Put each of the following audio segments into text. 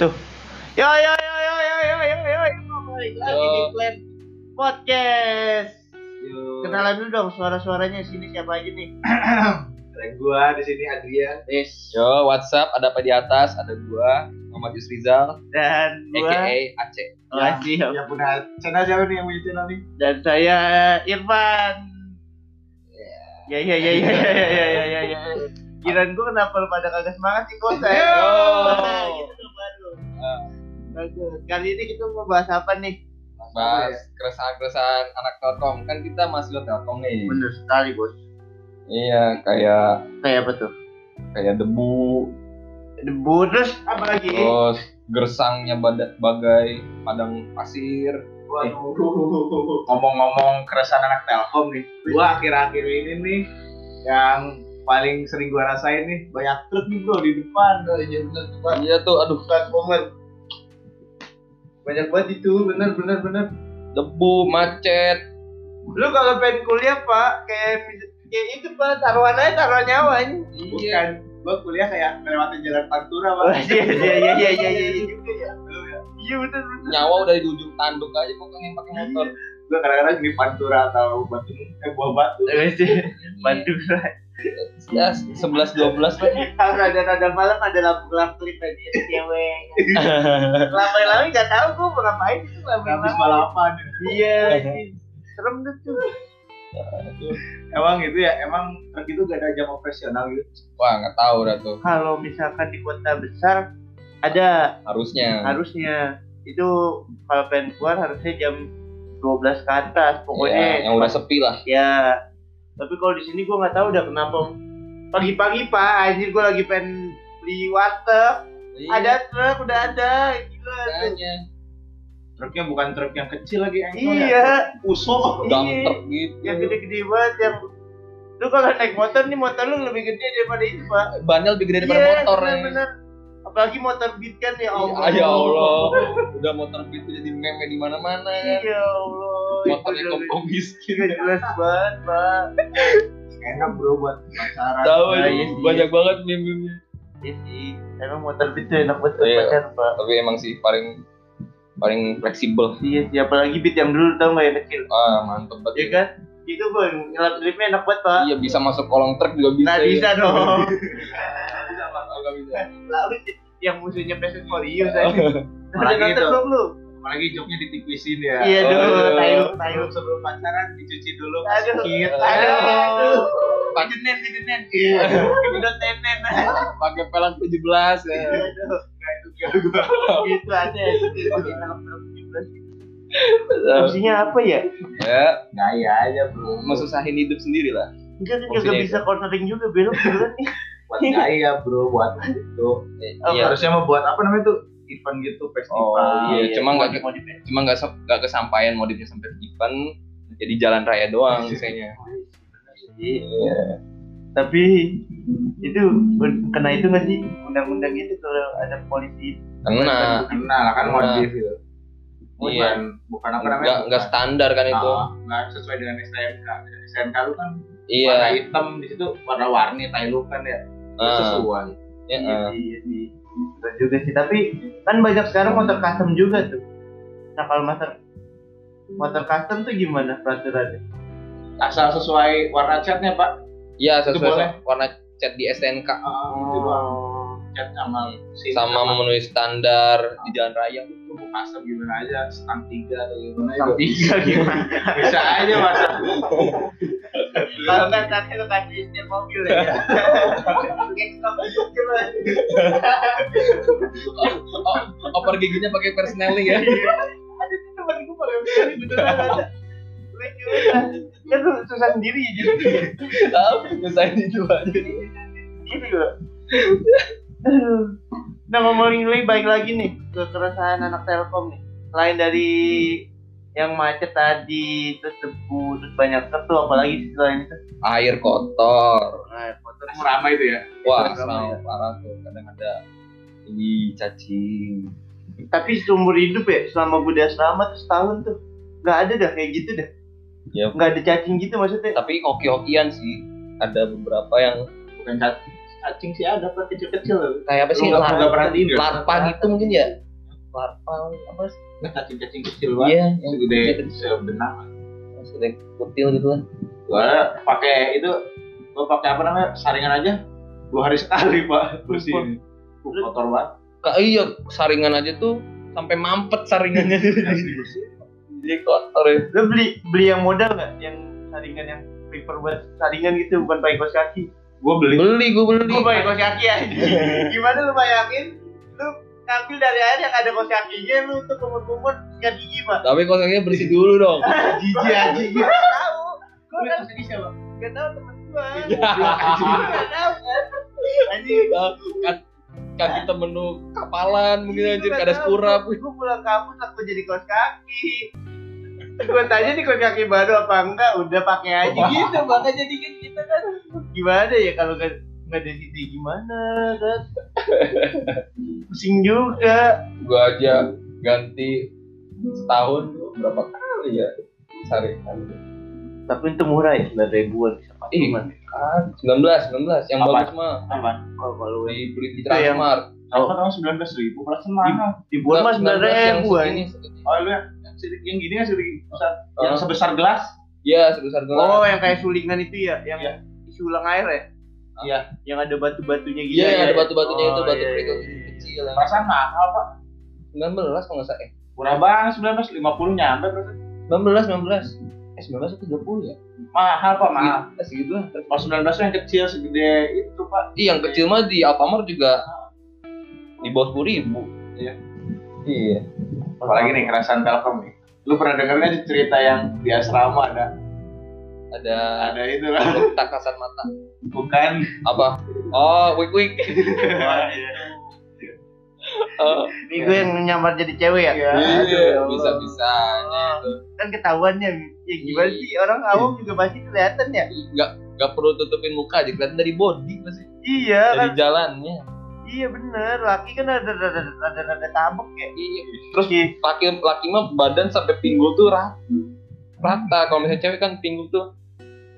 Tuh. Yo yo yo yo yo yo yo yo. yo. Balik lagi Yo. di Plan Podcast. Yuk. Kenalan dulu dong suara-suaranya sini siapa aja nih? ada gua di sini Adrian Yes. Yo, WhatsApp ada apa di atas? Ada gua, Muhammad Yusrizal, Dan gua Oh, aka Aceh. Wajib yang Ya, punya channel siapa nih yang punya channel nih dan saya Irfan. Ya ya ya ya ya ya ya ya ya. ya. Kiraan gua kenapa lu pada kagak semangat sih bos ya? Yo. Nah, gitu dong, baru. Bagus. Kali ini kita mau bahas apa nih? Bahas ya? keresahan-keresahan anak Telkom. Kan kita masih lo Telkom nih. Bener sekali bos. Iya, kayak Kayak apa tuh? kayak debu, Debu terus apa lagi? terus gersangnya bada- bagai padang pasir. waduh ngomong-ngomong keresahan anak telkom nih gua akhir-akhir ini nih yang paling sering gua rasain nih banyak truk nih bro di depan Iya tuh, aduh, banget banget banyak banget itu bener bener bener debu, macet. Lu kalau pengen kuliah pak, kayak kayak itu pak taruhan aja taruhan nyawa ini. Iya. bukan gua kuliah kayak ngelewatin jalan pantura Oh, banget iya iya iya iya iya iya. juga ya Lu ya. Iya bener bener. Nyawa udah di ujung tanduk aja pokoknya pakai motor. gua kadang-kadang di pantura atau batu eh buah batu Bantu lah. Ya, 11 12 lagi. Kalau ada nada Iya, malam ada lampu lampu lip tadi cewek. Lama-lama nggak tahu gua mau ngapain itu habis lama-lama. balapan Iya. anjing. Serem tuh tuh. emang itu ya emang truk itu gak ada jam operasional gitu Wah, nggak tahu dah tuh. Kalau misalkan di kota besar ada Harusnya. harusnya itu kalau pengen keluar harusnya jam 12 ke atas Iya, pokoknya yang udah sepi lah. Ya, tapi kalau di sini gua nggak tahu udah kenapa pagi-pagi pak, anjir gua lagi pengen beli warteg, ada truk udah ada, gila. tuh. Iya, Makanya. truknya bukan truk yang kecil lagi engkol ya Iya, uso dump truck gitu. yang gede-gede banget yang lu kalau naik motor nih motor lu lebih gede daripada itu pak. Bannya lebih gede daripada Iya, motor ya. bener-bener. Apalagi motor beat kan ya Allah. Ya Allah, udah motor itu jadi meme di mana-mana kan. Ya Allah. Motornya gitu. itu kompong miskin. jelas- jelas banget pak. enak bro buat pacaran Tahu Nah, itu iya sih. banyak banget meme-nya. Iya sih, emang motor beat tuh enak banget Iya. pacaran pak. Tapi emang sih paling paling fleksibel. Iya sih, apalagi beat yang dulu tau nggak yang kecil. Ah, mantep Iya banget. kan? Itu gue ngelap lipnya enak banget pak. Iya bisa masuk kolong truk juga bisa. Nah bisa ya. dong. Ah, nggak bisa. Lalu yang musuhnya Passion for You Ah, tadi. Udah Apalagi nonton itu. belum lu? apalagi joknya ditipisin ya Iya Oh, dong. iya. Tayo, tayo. sebelum sebelum pacaran dicuci dulu Aduh. sedikit. Aduh. Aduh. Pak- Kejenen, kejenen. Iya. Udah tenen. Pakai pelan 17 ya. Aduh. Nah, itu gak gua. Itu ya. ada. Fungsinya apa ya? Iya. Ya, gaya aja bro mesusahin Ya, hidup sendiri lah. Enggak kan Fungsinya kagak bisa cornering juga belok beneran nih. buat gaya bro buat itu Iya. harusnya mau buat apa namanya tuh event gitu festival Oh, iya. Cuma nggak- Modif- modifnya. cuma nggak sep- nggak kesampaian modifnya sampai event jadi jalan raya doang kayaknya Iya. Tapi itu kena itu nggak sih undang-undang itu kalau ada polisi karena nah lah kan Nah. modif gitu bukan Iya. bukan apa namanya nggak nggak standar kan itu Ah, nggak sesuai dengan STNK STNK lu kan warna iya hitam di situ warna warni tai lu kan ya Ah. sesuai iya, Iya, eh. iya, iya. Betul juga sih tapi kan banyak sekarang motor custom juga tuh nah kalau motor motor custom tuh gimana peraturannya asal sesuai warna catnya pak iya boleh. sesuai warna cat di STNK itu doang. cat sama si Oh. sama memenuhi standar di jalan raya lu custom gimana aja stang tiga atau gimana Stang tiga gimana itu bisa aja masa kalau nggak nanti lo kasih setir mobil ya oh, oper giginya pakai persneling ya ada sih temen gue pakai mobil beneran ada lucu banget. kan lu susah sendiri ya jadi tapi nyusahin itu aja sendiri lo Aduh. nah ngomongin lagi balik lagi nih ke keresahan anak telkom nih lain dari yang macet tadi terus debu terus banyak truk tuh apalagi sih selain itu air kotor nah, motor serama itu ya wah Itu drama sama parah tuh kadang ada di cacing tapi seumur hidup ya selama gue di asrama tuh setahun tuh nggak ada dah kayak gitu dah Yap. nggak ada cacing gitu maksudnya tapi hoki-hokian sih ada beberapa yang bukan cat cacing sih ada per kecil-kecil. kayak apa sih Lu nggak- nggak larva perhatiin ya? larva gitu mungkin ya larva apa sih Nah, cacing-cacing kecil banget. iya yang Segede gitu. sebenarnya. segede kutil gitu lah Gua pakai itu gua pakai apa namanya? Saringan aja. Dua hari sekali, Pak. Bersihin. Uh, Kotor banget. Kak, iya saringan aja tuh sampai mampet saringannya jadi kotor ya Lu beli beli yang modal nggak? Yang saringan yang prefer buat saringan gitu bukan pakai kaos kaki. Gua beli beli gue beli Gua pakai kaos kaki aja. Gimana lu bayangin? Lu ngambil dari air yang ada kaos kakinya lu tuh kumur-kumur sikat gigi pak. tapi kotaknya bersih dulu dong jijik aja gitu. Gak tahu. Gua kan Ini siapa? gak tahu temen gua. Iya. Gua nggak tahu kan. Anjing. Kan- kaki temen lu kapalan Iya, mungkin anjir Gua kada nggak tahu. sekurap Gua pulang kampus aku jadi kaos kaki. Gua tanya nih kaos kaki baru apa enggak? Udah pakai aja gitu makanya jadi kan kita kan. Gimana ya kalau nggak nggak ada situ gimana kan? Pusing juga. gue aja ganti setahun berapa kali ya saringan Tapi itu murah ya sembilan ribuan. Ih, Cuman kan 19, 19 yang Apa? bagus mah Apa? kalau kalau dibeli di Itu yang- Transmart. Kalau orang 19 ribu, perasaan mahal. dibuat mas sembilan 19 yang ribuan. segini, segini. Oh, lu yang, yang gini ya, seri, yang Oh. sebesar gelas. Iya, sebesar gelas. Oh yang kayak sulingan itu ya, yang Iya. isi ulang air ya? Iya. Yang ada batu-batunya gitu. Iya, yang ada batu-batunya Oh, itu, batu iya, kerikil iya, iya. kecil. yang- Perasaan mahal, Pak. 19 kalau nggak salah. Eh, Murah banget 19, 50 nyampe berarti. 19, 19. Eh, 19 atau 20 ya? Mahal, Pak, mahal. Eh, segitu lah. Kalau 19 tuh yang kecil segede itu, Pak. Ih, yang kecil mah di Alfamart juga di bawah 10 ribu. Iya. Iya. Apalagi nih kerasaan Telkom nih. Lu pernah denger nggak sih cerita yang di asrama ada Ada ada itu lah. tak kasat mata. Bukan. Apa? Oh, wik wik. Iya. Oh, Ini gue yang nyamar jadi cewek ya? Iya. Aduh, bisa bisa. Gitu. Iya. Kan ketahuannya. Ya gimana sih orang awam juga pasti kelihatan ya? Nggak nggak perlu tutupin muka aja kelihatan dari body masih Iya kan? dari jalannya. Iya bener. Laki kan ada ada ada ada tabok ya. Iya. Terus iya. Laki laki mah badan sampai pinggul tuh rata. Rata kalau misalnya cewek kan pinggul tuh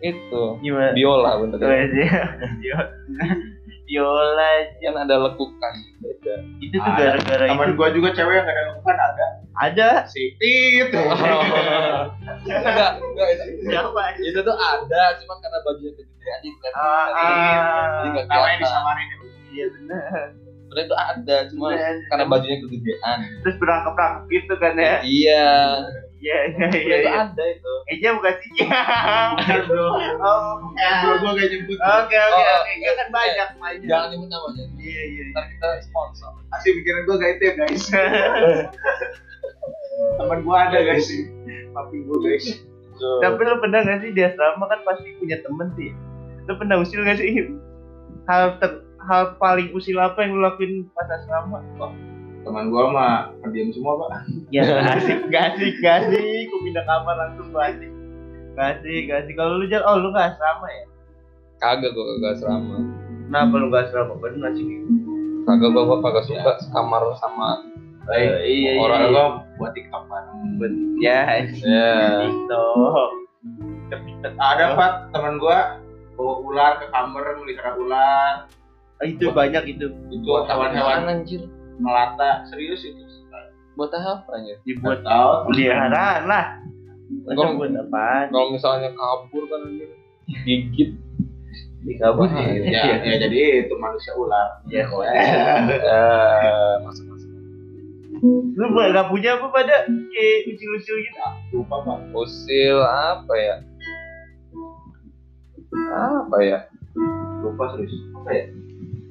itu gimana? Iya, biola bentuknya. Gimana sih? Yola Yang ada lekukan. Beda. itu tuh Ah, Ada. gara-gara itu Temen gua juga cewek yang gak ada lakukan ada ada si Tit. Enggak, enggak itu. siapa? itu tuh ada cuma karena bajunya kegedean jadi kelihatan Ah, Iya, jadi ah, nggak Namanya kelihatan disamarin. ya. iya bener. Iya, sebenarnya itu ada cuma karena bajunya kegedean Terus berangkap-rangkap gitu kan ya? iya Iya iya iya. sebenarnya itu iya. ada itu Eja bukan sih. Bukan, Kan, bro. Oh, Bro, gua gak nyebut. Oke oke Oh, oke, gak akan banyak banyak. jangan nyebut namanya Iya iya. iya. ntar kita sponsor Asli pikiran gua gak itu ya, guys. iya. Temen gua ada, guys. Papi gua, guys. Tapi lo pernah gak sih di asrama kan pasti punya temen sih. Lo pernah usil gak sih? Hal ter- hal paling usil apa yang lo lakuin pas asrama? Teman gua mah pendiam semua, Pak. Ya nggak asik, gak asik, gak asik. Gue pindah kamar langsung gak asik. Gak asik, gak asik. Kalau lu jalan, oh lu gak asrama ya? kagak gua kagak asrama Kenapa lu gak asrama? Gue gak asik. kagak gua gua kagak suka kamar sama Baik. iya, Orang iya. gua buat TikTok, Pak. Ya, ya TikTok. Ada, Pak, teman gua bawa ular ke kamar melihara ular Oh, Itu banyak itu. itu buat hewan-hewan hewan anjir melata serius itu buat apa anjir Dibuat buat tahu peliharaan lah. Masa Gua- buat apaan? kalau misalnya kabur kan anjir gigit Di kabur. ya, ya jadi itu manusia ular Iya. Eh, masuk masuk Lu gak gak punya apa pada kayak usil-usil gitu? lupa pak usil apa ya apa ya lupa serius apa ya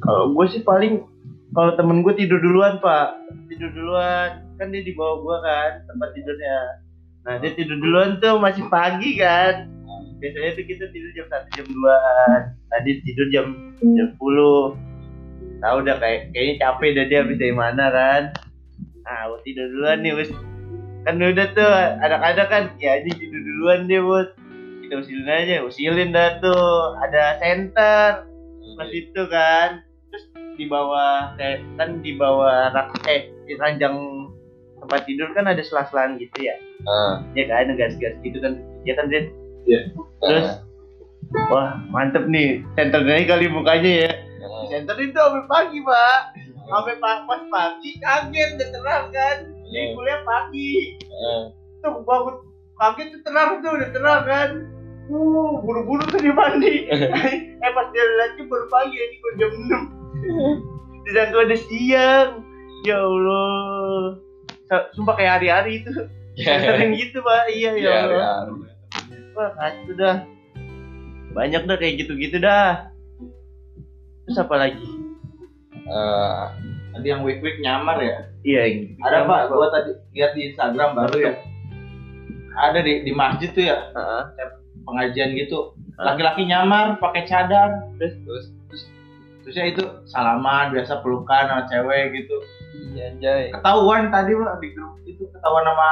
Kalau gue sih paling kalau temen gue tidur duluan pak, tidur duluan kan dia di bawah gue kan tempat tidurnya. Nah dia tidur duluan tuh masih pagi kan. Biasanya tuh kita tidur jam satu jam dua. Tadi tidur jam jam sepuluh. Nah udah kayak kayaknya capek dah dia habis dari mana kan. Nah gua tidur duluan nih wes. Kan udah tuh anak-anak kan ya anjing tidur duluan dia bos. Kita usilin aja, usilin dah tuh ada center ke situ kan terus di bawah kayak kan di bawah rak eh di ranjang tempat tidur kan ada sela-selaan gitu ya Ah, ya kan ada gas-gas gitu kan ya kan Zen Iya. ah, terus wah mantep nih senternya kali mukanya ya ah. center itu sampai pagi pak sampai pa- pas pagi kaget udah terang kan di Iya. kuliah pagi Eh, tuh bangun kaget tuh terang tuh udah terang kan uh buru-buru tuh dia mandi eh pas dia lagi baru pagi ya baru jam enam sedangkan udah siang ya allah Sa- sumpah kayak hari-hari itu sering gitu pak iya ya Iya, allah hari-hari. Wah, kacau dah. Banyak dah kayak gitu-gitu dah. Terus apa lagi? Eh, Tadi yang week week nyamar ya. Iya, yang- Ada pak, gua tadi lihat di Instagram baru ya. Ada di di masjid tuh ya Heeh. pengajian gitu. Ah. Laki-laki nyamar pakai cadar. terus Terusnya itu salaman biasa pelukan sama cewek gitu. iya anjay Ketahuan tadi pak di grup itu ketahuan sama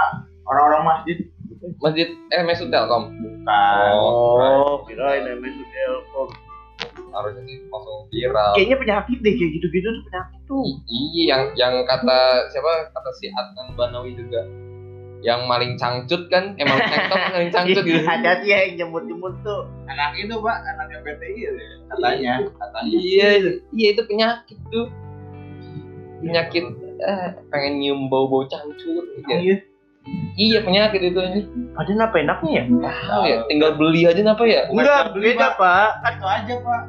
orang-orang masjid. Kan. masjid eh masjid telkom Bukan. Oh, kirain namanya itu Telkom. harusnya sih langsung viral Kayaknya penyakit deh kayak gitu. gitu-gitu tuh penyakit tuh. I- iya yang yang kata siapa kata si Adnan Banawi juga yang maling cangcut kan emang TikTok maling Iya. cangcut gitu Ada dia ya, yang jemur-jemur tuh. Anak itu pak, anaknya PTI ya, katanya. Katanya. iya iya itu penyakit tuh penyakit eh, pengen nyium bau bau cangcut gitu. Iya. iya penyakit itu ini Padahal apa enaknya ya? tahu ya tinggal beli aja apa ya Enggak, Bukan beda beli, pak. Satu Kan aja pak.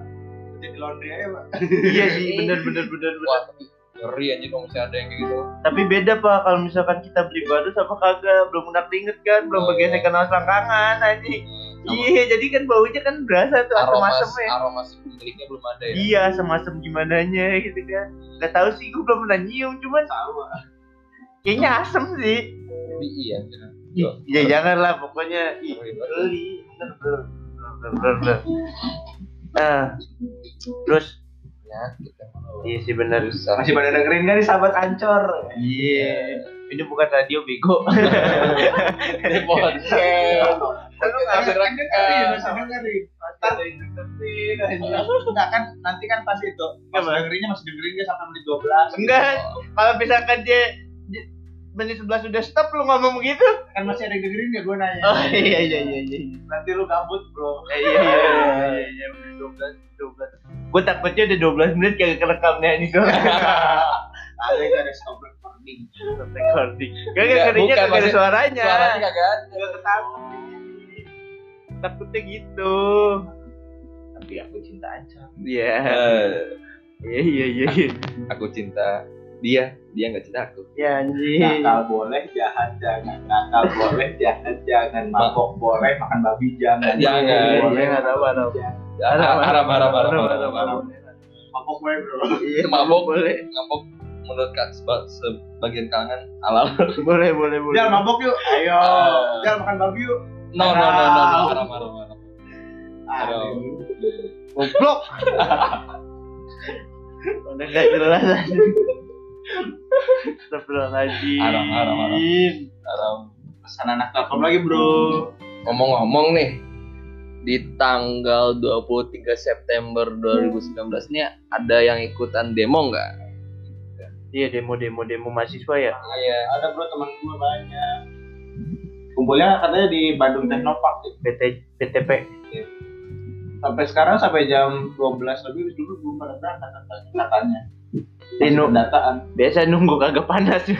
Jadi laundry aja pak. Iya sih, bener-bener bener-bener. wah tapi ngeri aja kalau misalnya ada yang kayak gitu Tapi beda pak kalau misalkan kita beli baru sama kagak belum kena keringet kan, belum bergesekan sama selangkangan anjing. Iya, jadi kan baunya kan berasa tuh asam iya. aroma asamnya. aroma si pemiliknya belum ada ya Iya, asam asam gimana nya gitu kan. Gak tau sih, gue belum pernah nyium, cuman Tahu. Pak. kayaknya asem sih. Tapi iya Ih, Ya jangan lah, pokoknya ih, Ngeri banget. beli, bener bener bener bener, bener. Nah, terus penyakit emang. iya sih bener. Susah. Masih pada dengerin kan nih sahabat ancor. Iya, ini bukan radio bego. podcast. Kalau Masih rekam. masih dengerin. eh, Ntar dengerin aja. Enggak kan nanti kan pas itu. Pas Apa? dengerinnya masih dengerin dia sampai menit 12. Enggak, kalau misalkan dia dia- menit sebelas sudah stop lu ngomong begitu. Kan masih ada yang dengerin ya gue nanya. Oh iya iya iya iya. Nanti lu gabut bro. Eh, Iya iya iya iya. Dua belas dua belas. Gue takutnya udah 12 menit kagak kerekam nih ini gue Ada yang ada stop recording. recording. Kagak Enggak, kerjanya bukan, kagak ada maksudnya suaranya. kan- Suaranya kagak ada. Kagak ketahuan. Takutnya gitu. Tapi aku cinta ancor. Iya. Iya iya iya. iya. Eh, aku cinta dia, dia nggak cinta aku. Ya anjing. Nakal boleh, jahat jangan. Nakal boleh, jahat jangan. Mabok boleh, makan babi Jangan. jangan. Iya, Mabok boleh, Eh, Jangan, makan haram, babi jangan. Ya, Haram, haram, haram, haram, haram, haram. Mabok boleh bro. Iya, Mabok. boleh. Ngapok menurut kak seba- sebagian kalangan halal. Boleh, boleh, boleh. Jangan mabok yuk. Ayo. Ah. Jangan makan babi yuk. No, no, no, no, no, haram, haram, haram. Ah, Aduh. Aduh. Goblok. Udah gak jelas Astagfirullahaladzim Haram, haram, haram. Haram. Pesan anak telkom lagi bro. Ngomong-ngomong nih, di tanggal 23 September 2019 nih ada yang ikutan demo nggak? Iya demo demo demo mahasiswa ya Iya. Ah, Ada bro teman gue banyak. Kumpulnya katanya di Bandung Technopark ya. PT PTP Sampai sekarang sampai jam 12 lebih dulu belum pada berangkat katanya. katanya. Masih Dino. pendataan. biasa nunggu kagak panas itu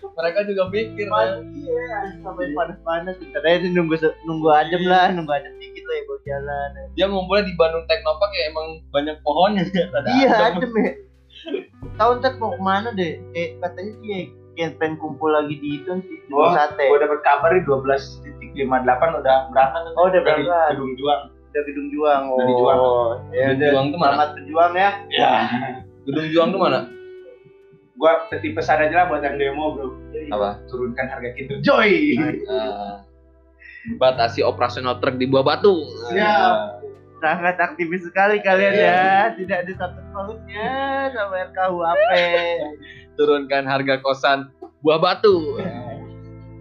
Mereka juga mikir. ya. iya sampai panas panas bentar aja nunggu se- nunggu adem lah nunggu adem dikit lah ya baru jalan Dia ngumpulnya di Bandung Teknopark ya emang banyak pohonnya. Ada iya adem. adem ya tahun ntar mau kemana deh eh katanya sih ya yang pengen kumpul lagi di itu sih di Wah, sate Gue dapat Eh, kabar di 12.58 udah berangkat. Oh, udah Dari berangkat. Gedung Juang. dari gedung juang Dari Juang. ya Gedung udah. Juang tuh mana? selamat berjuang ya Ya. Gedung Juang tuh mana? Gue peti pesan aja lah buat yang demo bro. Apa? Turunkan harga kita. Joy. Nah, batasi operasional truk di buah batu. Siap. sangat aktivis sekali kalian Iya. ya tidak ada satu pautnya sama RKUHP Turunkan harga kosan buah batu.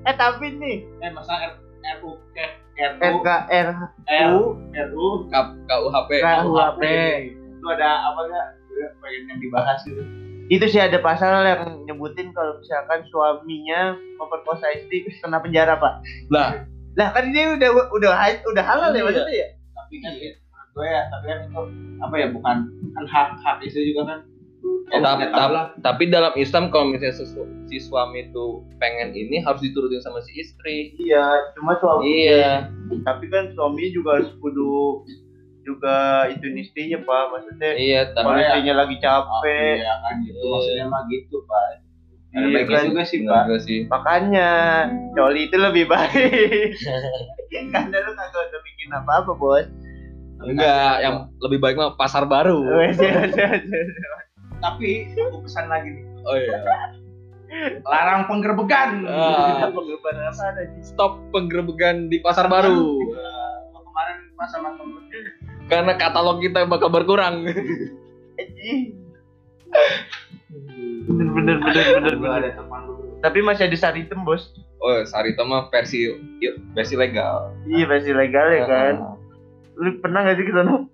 eh tapi nih Eh masa R RU eh, RU RKRHU RU RU K- KUHP. KUHP itu ada apa enggak? pengen yang dibahas gitu. itu. itu sih ada pasal yang nyebutin kalau misalkan suaminya memperkosa istri kena penjara pak Lah, iya. lah kan ini udah udah udah halal ya maksudnya ya Tapi kan menurut gue ya tapi kan itu apa ya bukan kan hak hak istri juga kan Ya, Ya, tap- nggak tahu tap- lah. tapi dalam Islam kalau misalnya sesu- si suami itu pengen ini harus diturutin sama si istri. Iya, cuma suami. Iya. Tapi kan suami juga harus kudu juga itu istrinya pak, maksudnya Iya, kalau tapi Boleh. ya. istrinya lagi Oh, capek, iya kan gitu Iya. maksudnya mah gitu pak ada Iya, baiknya kan. juga sih Bener pak juga sih. makanya coli itu lebih baik. Karena lu kagak udah bikin apa-apa bos. Enggak, yang lebih baik mah pasar baru. Wes, wes, wes, wes. tapi aku pesan lagi nih Oh iya. larang penggerbegan Ah. Penggerupan apa ada sih? Stop penggerebegan di pasar baru. Eh, kemarin pas sama temen Karena katalog kita bakal berkurang. Anjing. Bener bener bener bener gue bener. ada teman dulu Tapi masih ada sari hitam bos. Oh, Sari mah versi versi legal. Iya pasti legal ya kan. Lu pernah gak sih ke sana?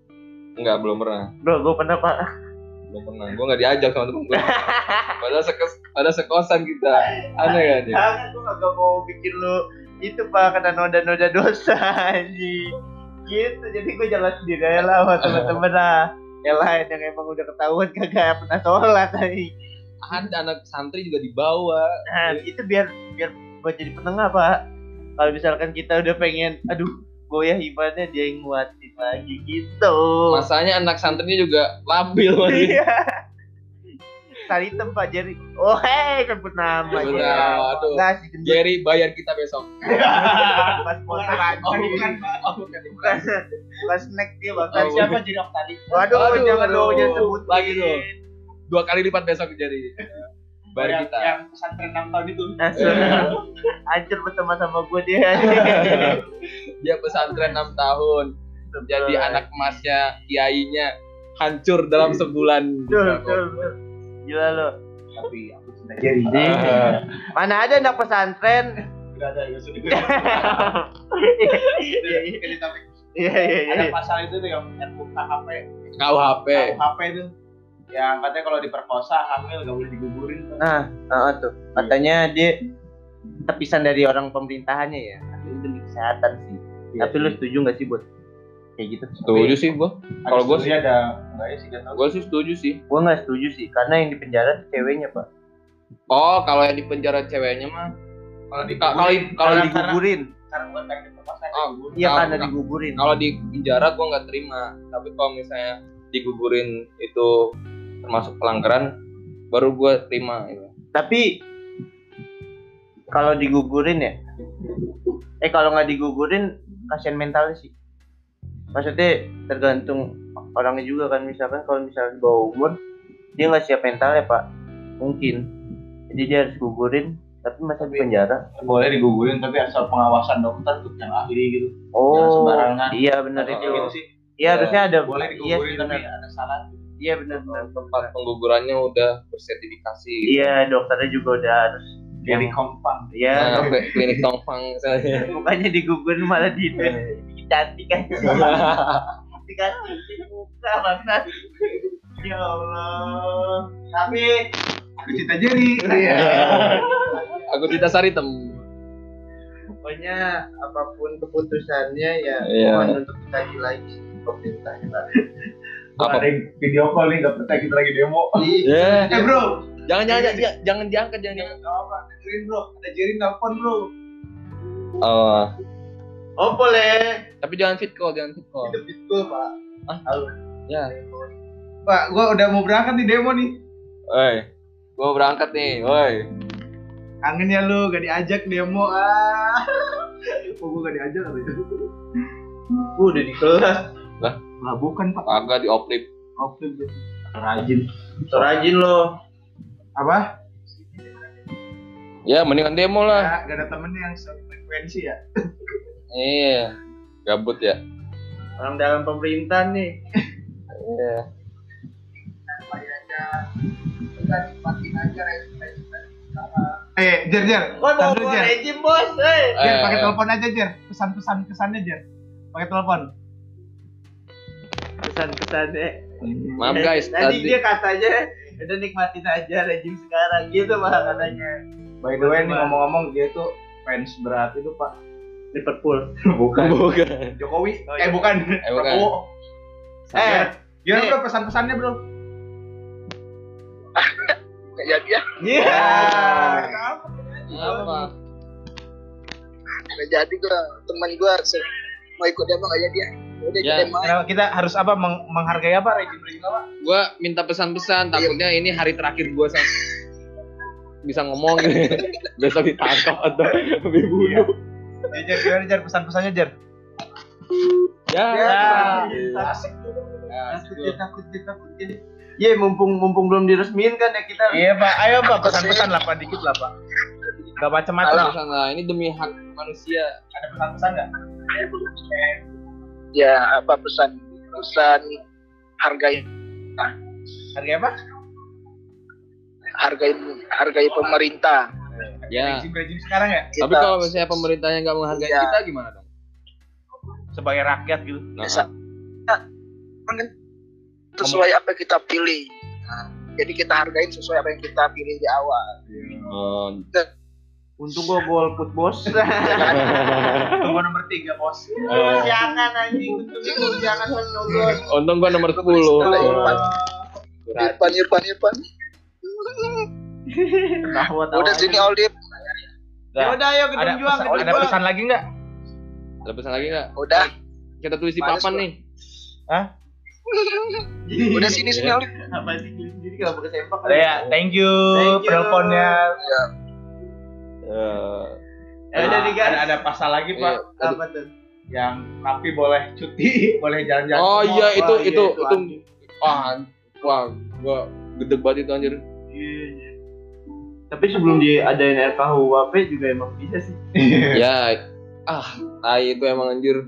Enggak, belum pernah. Bro, gue pernah pak. belum pernah gue nggak diajak sama temen gue padahal sekos padahal sekosan kita aneh kan ya Jangan gue kagak mau bikin lu itu pak kena noda-noda dosa anjing. Gitu jadi gue jalan sendiri aja lah sama temen-temen lah. Yang lain yang emang udah ketahuan kagak pernah sholat tadi. ada Kan anak santri juga dibawa Nah Iya. itu biar biar buat jadi penengah pak. Kalau misalkan kita udah pengen, aduh goyah imannya dia yang nguatin lagi gitu. masanya anak santrinya juga labil masih Iya. Sari hitam Pak Jerry. Oh hei sebut nama Sebut ya. nama, Iya. aduh. Enggak sih gendut. Jerry bayar kita besok Pas Bukan, botak oh, anjing. bukan, Pak. Oh, bukan, bukan. Pas snack dia bang. Oh, siapa? siapa jadi tadi Waduh, Aduh, jangan dong aduh. jangan sebut Lagi dong. dua kali lipat besok Jerry bayar yang, kita iya. yang pesantren gitu. nampal itu Nah, Iya. Hancur bersama sama gue dia. dia pesantren 6 tahun jadi anak emasnya kiainya hancur dalam Iya. sebulan Betul, betul, betul. Gila lo. tapi aku sudah jadi Ah. Mana ada anak pesantren? Udah ada ya sudah Udah, ini topik. Iya iya iya. ada pasal itu tuh yang RUKHP KUHP KUHP itu yang katanya Ya, kalau diperkosa hamil gak boleh digugurin tuh. Nah, heeh tuh. Katanya dia terpisah dari orang pemerintahannya ya. Tapi itu demi kesehatan sih. Ya, Tapi lu setuju gak sih buat kayak gitu? setuju sih gue Ada kalau gua sebenarnya ada enggak ya sih gak tahu gue sih setuju sih Gua nggak setuju sih, karena yang di penjara tuh ceweknya pak. oh kalau yang di penjara ceweknya mah kalau di Ka- kalau kalau Kalau di digugurin, karena gua pengen diperkosa Oh, iya kalau- karena digugurin. kalau di penjara gue nggak terima tapi kalau misalnya digugurin itu termasuk pelanggaran baru gue terima gitu. Tapi kalau digugurin ya, eh kalau nggak digugurin kasihan mentalnya sih. Maksudnya tergantung orangnya juga kan misalkan kalau misalnya di bawah umur dia nggak siap mental ya pak, mungkin. Jadi dia harus gugurin, tapi masa di penjara. boleh digugurin tapi asal pengawasan dokter tuh yang ahli gitu Oh, sembarangan. iya benar Kayak itu. gitu sih Iya harusnya ada. boleh Iya digugurin sih tapi benar. ada salah Iya benar. benar. tempat penggugurannya udah bersertifikasi Iya dokternya juga udah harus. dari kompak Iya. Nah, sampai klinik tongfang misalnya mukanya digugurin malah di Iya. Bikin cantik kan dikasih muka bangsa ya Allah tapi Eh, aku cinta jadi Iya. Iya. aku tidak sari tem pokoknya apapun keputusannya ya Iya. mohon untuk dikaji lagi sih pemerintahnya lah apa apa video call nih nggak percaya kita lagi demo Iya. ya eh bro jangan jangan jangan jangan diangkat jangan jangan nggak apa dengerin bro ada jadi telepon bro oh oh boleh tapi jangan fit call jangan fit call itu betul pak ya pak gua udah mau berangkat nih demo nih woi gue berangkat nih woi kangen ya lu gak diajak demo ah oh gua gak diajak kali ya Gua udah di kelas lah bukan pak agak di oprip oke gitu rajin so rajin lo apa ya mendingan demo lah ya, gak ada temennya yang sefrekuensi ya iya gabut ya orang dalam pemerintahan nih iya eh jer jer Woi Tar mau dulu, gua kan? jer rejim bos eh jer Eh, pakai eh. telepon aja jer pesan pesan kesannya jer pakai telepon kesan kesannya Maaf guys, tadi, tadi, dia katanya udah nikmatin aja rejim sekarang gitu mah katanya by the way nih Teman. ngomong-ngomong dia tuh fans berat itu pak Liverpool bukan bukan. Jokowi Oh, iya. eh bukan bukan. Prabowo Eh, Gimana Nih. bro pesan-pesannya bro? kayak dia Iya. Ya. Apa? nggak jadi gua teman gua se- mau ikut demo nggak jadi ya udah Ya, ikut demo aja. Kenapa Nah, kita harus apa meng- menghargai apa rejim-rejim apa? Gue minta Iya. pesan-pesan, takutnya ini hari terakhir gue sama bisa ngomong gitu. besok ditangkap atau Iya. dibunuh Ya, Jer, gimana Jer pesan-pesannya Jer? ya, Iya. Iya. Asik. Ya, takut takut takut Iya, mumpung mumpung belum diresmikan kan ya kita. Iya pak, ayo pak pesan-pesan lah pak dikit lah pak. Gak macam-macam. Pesan-pesan lah, ini demi hak manusia Ada pesan-pesan nggak? ya apa pesan pesan hargai Hargai apa? hargai hargai pemerintah Nah. ya Rejim-rejim sekarang ya tapi Kita- kalau misalnya pemerintahnya nggak menghargai Iya. kita gimana dong sebagai rakyat gitu. nah, Sa- Nah, kan sesuai apa yang kita pilih. Nah, jadi kita hargain sesuai apa yang kita pilih di awal. oh. Untung gua golput bos. Tunggu nomor tiga bos. Eh, Jangan anjing, untung jangan menyolot. untung gua nomor 10 Boleh, Irfan. Oh. Berarti. Irfan, Irfan, Irfan. Tahu Nah, tahu. Udah sini Oldip. Ya udah ayo Ada gedung juang pesan, ada gedung juang. pesan lagi nggak? ada pesan lagi nggak Udah. kita tulis di Manis, papan Bro. nih Udah sini Iya. sini Oldip. Apa sih diri sendiri kenapa kesempak? Ada ya, thank you, Thank you. penelponnya. Eh, Ya udah nih guys. Ada, ada pasal lagi iya. pak apa tuh? yang tapi boleh cuti, boleh jalan-jalan. oh ke mall. iya itu Wah, iya, itu itu itu wah wah gua gedeg banget itu anjir Iya, iya. Tapi sebelum diadain RKUHP juga emang bisa sih. ya ah tai itu emang anjir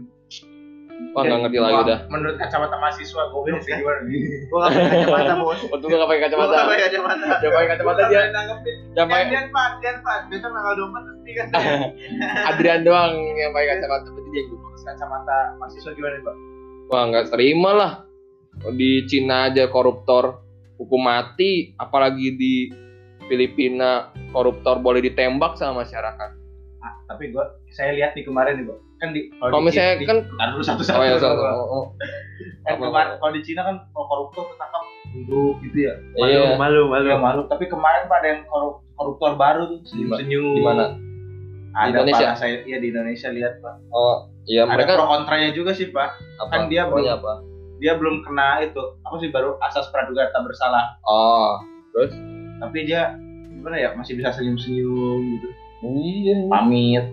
wah nggak ngerti iya, lagi Wah, udah Menurut kacamata mahasiswa, gue bilang sih gimana? Gua nggak pakai kacamata bos. Untung gak pakai Iya. Gua kacamata nggak iya. pakai kacamata. Jangan pakai kacamata dia Jangan Dan pakai dan Pak, dan Pak, besok tanggal 24 resmi kan. Adrian doang yang pakai kacamata Berarti dia yang gua. Kacamata mahasiswa gimana pak? Wah nggak terima lah Di Cina aja koruptor Hukum mati Apalagi di Filipina Koruptor boleh ditembak sama masyarakat Ah, tapi gue, saya lihat nih kemarin nih pak, kan di Kalau misalnya di, kan Ntar dulu satu-satu. Oh ya dulu, salah Pak. oh, oh. Kan kemarin kalau di Cina kan kalau koruptor ketangkap duduk gitu ya. Iya malu, Malu malu. Tapi kemarin pak ada yang korup- koruptor baru tuh senyum senyum. di mana? Ada Indonesia? Pak, saya iya di Indonesia lihat pak. Oh iya Ada mereka pro kontranya juga sih pak. apa? kan dia Pokoknya belum- apa? Dia belum kena itu. Apa sih baru asas praduga tak bersalah. Oh Tapi dia gimana ya masih bisa senyum senyum gitu. iya Pamit.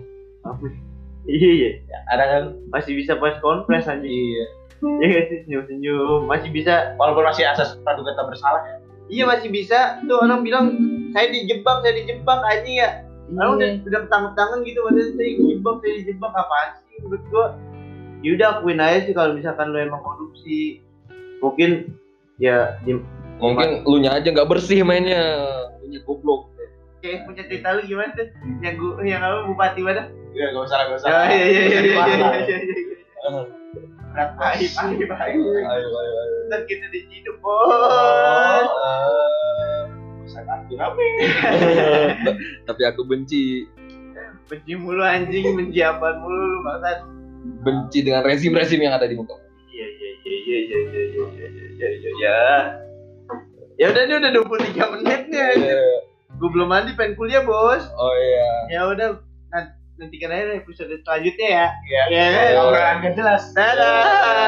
Iya, iya. Ya, ada kan? Masih bisa pas konfres anjing. Iya. Iya nggak sih senyum-senyum, masih bisa. Walaupun masih asas praduga tak bersalah ya. Iya masih bisa. Tuh orang bilang saya dijebak, saya dijebak anjing ya. Orang udah udah ketangkep tangan gitu maksudnya saya dijebak, saya dijebak apaan sih menurut gua. Ya udah akuin aja sih kalau misalkan lu emang korupsi. Mungkin ya di Mungkin lu nya aja nggak bersih mainnya Lu nya goblok kayak punya cerita lu gimana tuh? Yang gua yang apa bupati mana? Iya gak usah lah gak usah. Ya iya iya iya iya iya Berat, iya. iya. Pak. Aib aib aib. Ayo, ayo, ayo. Ntar kita diciduk Oh, bos. eh, pesan aku apa ya? Tapi aku benci Benci mulu anjing, benci apaan mulu lu bangsat. benci dengan rezim-rezim yang ada di muka. Iya iya iya iya iya iya iya iya iya iya iya. Ya udah ini udah 23 menit nih. anjing. Gue belum mandi pengen kuliah, Bos. Oh iya. Ya udah nan- nantikan aja episode selanjutnya ya. Iya. Iya. Iya. Obrolan gak jelas. Dadah.